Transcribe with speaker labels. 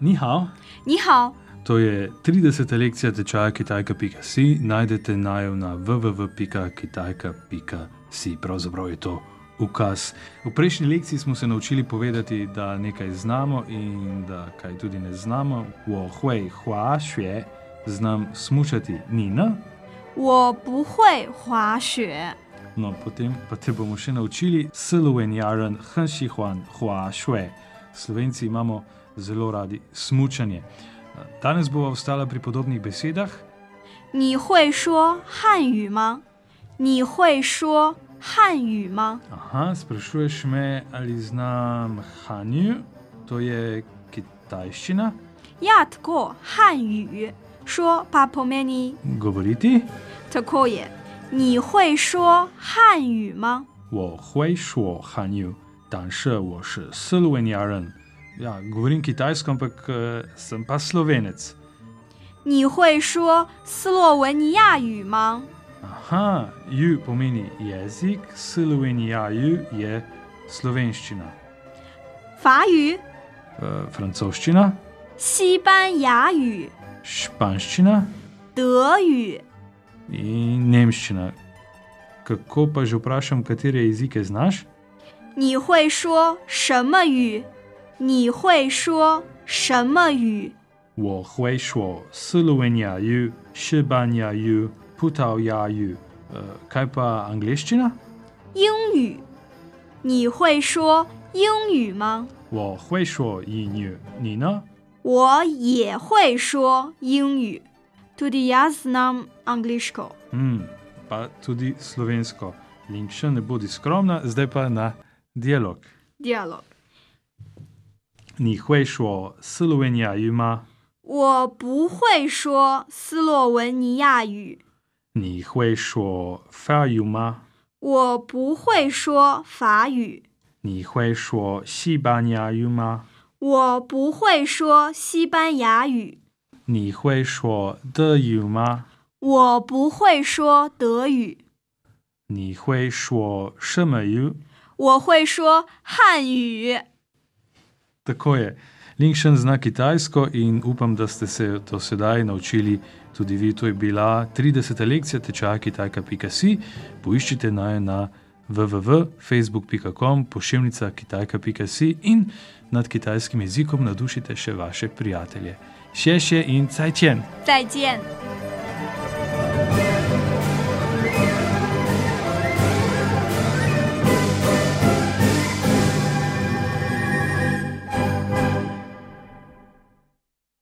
Speaker 1: Ni hao.
Speaker 2: 你好，
Speaker 1: To je 30. lekcija tečaja kitajka.si, najdete najo na www.kitajka.si. Pravzaprav je to ukaz. V prejšnji lekciji smo se naučili povedati, da nekaj znamo in da kaj tudi ne znamo. Wo hui hua xue znam smučati Nina,
Speaker 2: 我不会滑雪，
Speaker 1: no potem pa te bomo še naučili Slovenjaren Hanshi Huan Hua Shue. Slovenci imamo zelo radi smučanje. Danes bova ostala pri podobnih besedah.
Speaker 2: 你会说汉语吗？你会说汉语吗？
Speaker 1: Aha, sprašuješ me, ali znam Hanju, to je kitajščina,
Speaker 2: 亚特过汉语说巴普梅尼
Speaker 1: govoriti
Speaker 2: 特科耶。你会说汉语吗？
Speaker 1: 我会说汉语，但是我是斯洛文尼亚人。Ja, govorim kitajsko, ampak uh, sem pa slovenec.
Speaker 2: 你会说斯洛文尼亚语吗？
Speaker 1: Aha, ju pomeni jezik, Slovenija ju je slovenščina,
Speaker 2: 法语、
Speaker 1: uh, francoščina,
Speaker 2: 西班牙语、
Speaker 1: španščina
Speaker 2: 德语。
Speaker 1: in nemščina. Kako pa že vprašam, katere jezike znaš?
Speaker 2: 你会说什么语？你会说什么语？
Speaker 1: 我会说斯洛文尼亚语、西班牙语、葡萄牙语，呃，kaj pa angliščina？
Speaker 2: 英语？你会说英语吗？
Speaker 1: 我会说英语，你呢？
Speaker 2: 我也会说英语。Tudi jaz znam angliško。
Speaker 1: 嗯，pa tudi slovensko. Link še ne bodi skromna, zdaj pa na dialog.
Speaker 2: Dialog。
Speaker 1: 你会说斯洛文尼亚语吗？
Speaker 2: 我不会说斯洛文尼亚语，
Speaker 1: 你会说法语吗？
Speaker 2: 我不会说法语，
Speaker 1: 你会说西班牙语吗？
Speaker 2: 我不会说西班牙语，
Speaker 1: 你会说德语吗？
Speaker 2: 我不会说德语。
Speaker 1: 你会说什么语？
Speaker 2: 我会说汉语。
Speaker 1: Tako je. Linkšen zna kitajsko in upam, da ste se do sedaj naučili tudi vi. To je bila 30. lekcija tečaja kitajka.si. Poiščite naj na www.facebook.com, pošiljka kitajka.si in nad kitajskim jezikom navdušite še vaše prijatelje. Še še in cajtjen!
Speaker 2: 再见。